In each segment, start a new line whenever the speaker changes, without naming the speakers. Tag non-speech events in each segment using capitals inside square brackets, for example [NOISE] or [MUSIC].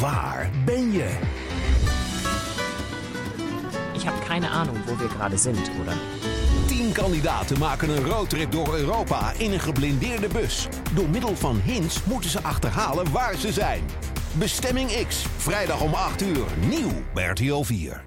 Waar ben je?
Ich habe keine Ahnung, wo wir gerade sind, oder?
Tien kandidaten maken een roadtrip door Europa in een geblindeerde bus. Door middel van hints moeten ze achterhalen waar ze zijn. Bestemming X, vrijdag om 8 uur, nieuw bij RTL 4.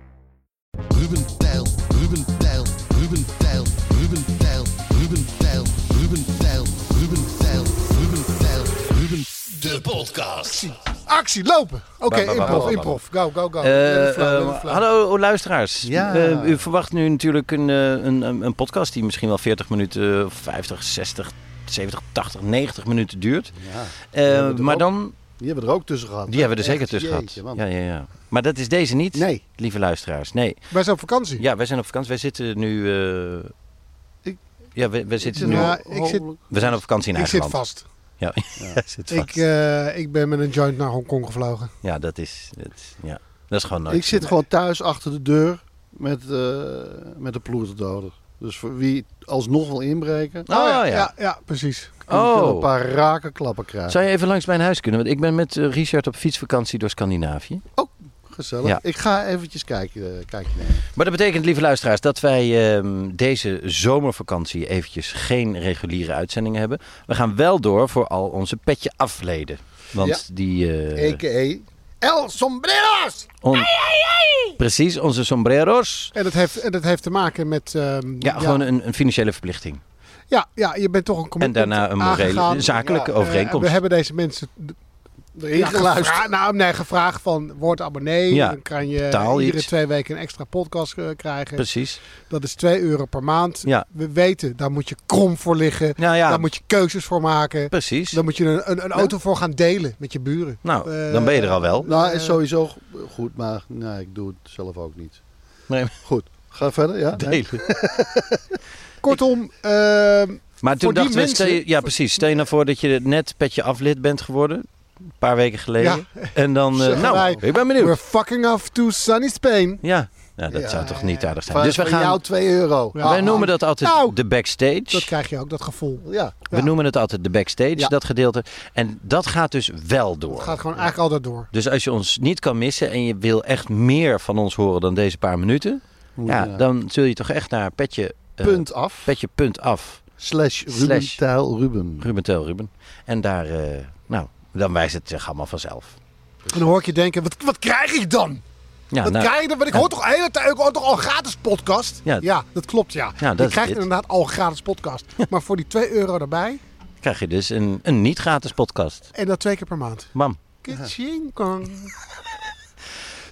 Ruben Tijl, Ruben Tijl, Ruben Tijl, Ruben Tijl, Ruben Tijl, Ruben Tijl, Ruben Tijl, Ruben Tijl, Ruben... De podcast.
Actie, lopen.
Bam,
Oké,
bam, bam,
improv,
bam,
improv. Go, go, go.
Oh,
Eh,
Let it flow, let it
eh,
flow.
hallo luisteraars.
Ja.
Eh, u verwacht nu natuurlijk een, eh, een, een, een podcast die misschien wel 40 minuten, of 50, 60, 70, 80, 90 minuten duurt.
Ja,
Eh,
hebben we er
maar
ook.
dan,
die hebben we er ook tussen gehad.
die hebben we er zeker
Echt,
tussen
jeetje,
gehad.
man.
Ja, ja, ja. Maar dat is deze niet,
Nee.
lieve luisteraars. Nee.
Wij zijn op vakantie.
Ja, wij zijn op vakantie. Wij zitten nu... eh,
Ik-
ja, we, we, zitten
Ik
nu,
nou-
zit-
ik zit-
we zijn op vakantie in
ik
eigen
zit
land.
vast.
Ja, [LAUGHS] ja, zit vast.
Ik, eh, ik ben met een joint naar Hongkong gevlogen.
ja, dat is... Dat, ja. dat is gewoon nooit
Ik zit
zo.
gewoon thuis achter de deur met, eh, met de ploerterdoder. Dus voor wie alsnog wil inbreken,
Oh, ja.
ja, precies.
kan je
Oh.
een paar rake klappen krijgen.
Zou je even langs mijn huis kunnen? Want ik ben met eh, Richard op fietsvakantie door Scandinavië.
Oh, Gezellig.
Ja.
Ik ga eventjes kijken. eh, kijkje nemen.
Maar dat betekent, lieve luisteraars, dat wij ehm, deze zomervakantie eventjes geen reguliere uitzendingen hebben. We gaan wel door voor al onze petje afleden. Want die... eh,
A.k.a. El Sombreros!
on- Precies, onze sombreros.
En dat heeft, en dat heeft te maken met... ehm,
Ja, gewoon een, een financiële verplichting.
ja, ja, je bent toch een
En
commitment
daarna een morele,
aangegaan.
zakelijke
Eh,
overeenkomst.
we hebben deze mensen
Erin
ja,
geluisterd.
gevra- nou, nee, gevraagd van word abonnee.
Ja,
Dan kan je
betaal
iedere
iets.
twee weken een extra podcast eh, krijgen.
Precies.
Dat is 2 euro per maand.
Ja.
We weten, daar moet je krom voor liggen.
Nou ja,
Daar moet je keuzes voor maken.
precies.
Daar moet je een, een, een auto voor gaan delen met je buren.
Nou, dan ben je er al
eh,
wel.
Nou, is sowieso go- goed, maar nee, ik doe het zelf ook niet.
Nee,
Goed, ga verder, ja? Nee?
delen.
Kortom, ehm,
Maar
Voor
toen dachten
die
we, stel je,
mensen-
ja precies, stel je nou voor dat je net petje aflid bent geworden, een paar weken geleden. En dan, eh,
Zeggen
nou,
wij,
ik ben benieuwd.
we're fucking off to sunny Spain.
Ja, nou, dat
Ja.
zou toch niet aardig zijn.
Van-
Dus we
van jou Ah,
gaan,
2 euro.
Ja.
wij noemen dat altijd
Nou,
de backstage.
Dat krijg je ook, dat gevoel.
Ja,
We noemen het altijd de backstage,
Ja.
dat gedeelte. En dat gaat dus wel
Het
door.
gaat gewoon eigenlijk altijd door.
Dus als je ons niet kan missen en je wil echt meer van ons horen dan deze paar minuten,
Moet
ja,
je naar
dan zul je toch echt naar petje, eh,
punt af.
petje punt af,
Slash Ruben
Slash.
Tijl Ruben.
Ruben Tel Ruben. En daar, eh, nou, dan wijst het zich allemaal vanzelf.
En dan hoor ik je denken, wat, wat krijg ik dan?
Ja,
wat
nou,
krijg ik dan? Want ik hoor toch de hele tijd, ik hoor toch al een gratis podcast?
Ja.
dat klopt ja.
Ja, dat
je
is
krijgt
dit.
inderdaad al een gratis
[LAUGHS]
podcast. Maar voor die 2 euro erbij,
krijg je dus een, een niet gratis podcast.
en dat twee keer per maand.
Mam.
Kitchinkong.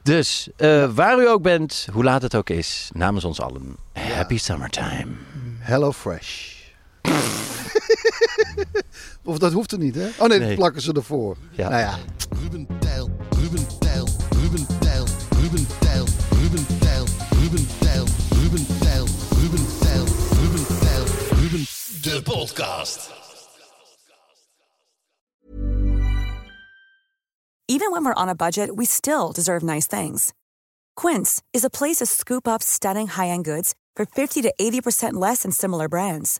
Dus eh, waar u ook bent, hoe laat het ook is, namens ons allen, happy summertime.
Hello
[LAUGHS]
Fresh. of dat hoeft er niet, hè? Oh nee,
Nee.
dat plakken ze ervoor.
Ja.
Nou ja,
Ruben Tijl, Ruben Tijl, Ruben Tijl, Ruben Tijl, Ruben Tijl, Ruben Tijl, Ruben Tijl, Ruben Tijl, Ruben Tijl, Ruben... De podcast.
Even when we're on a budget, we still deserve nice things. Quince is a place to scoop up stunning high end goods for 50 to 80% less than similar brands.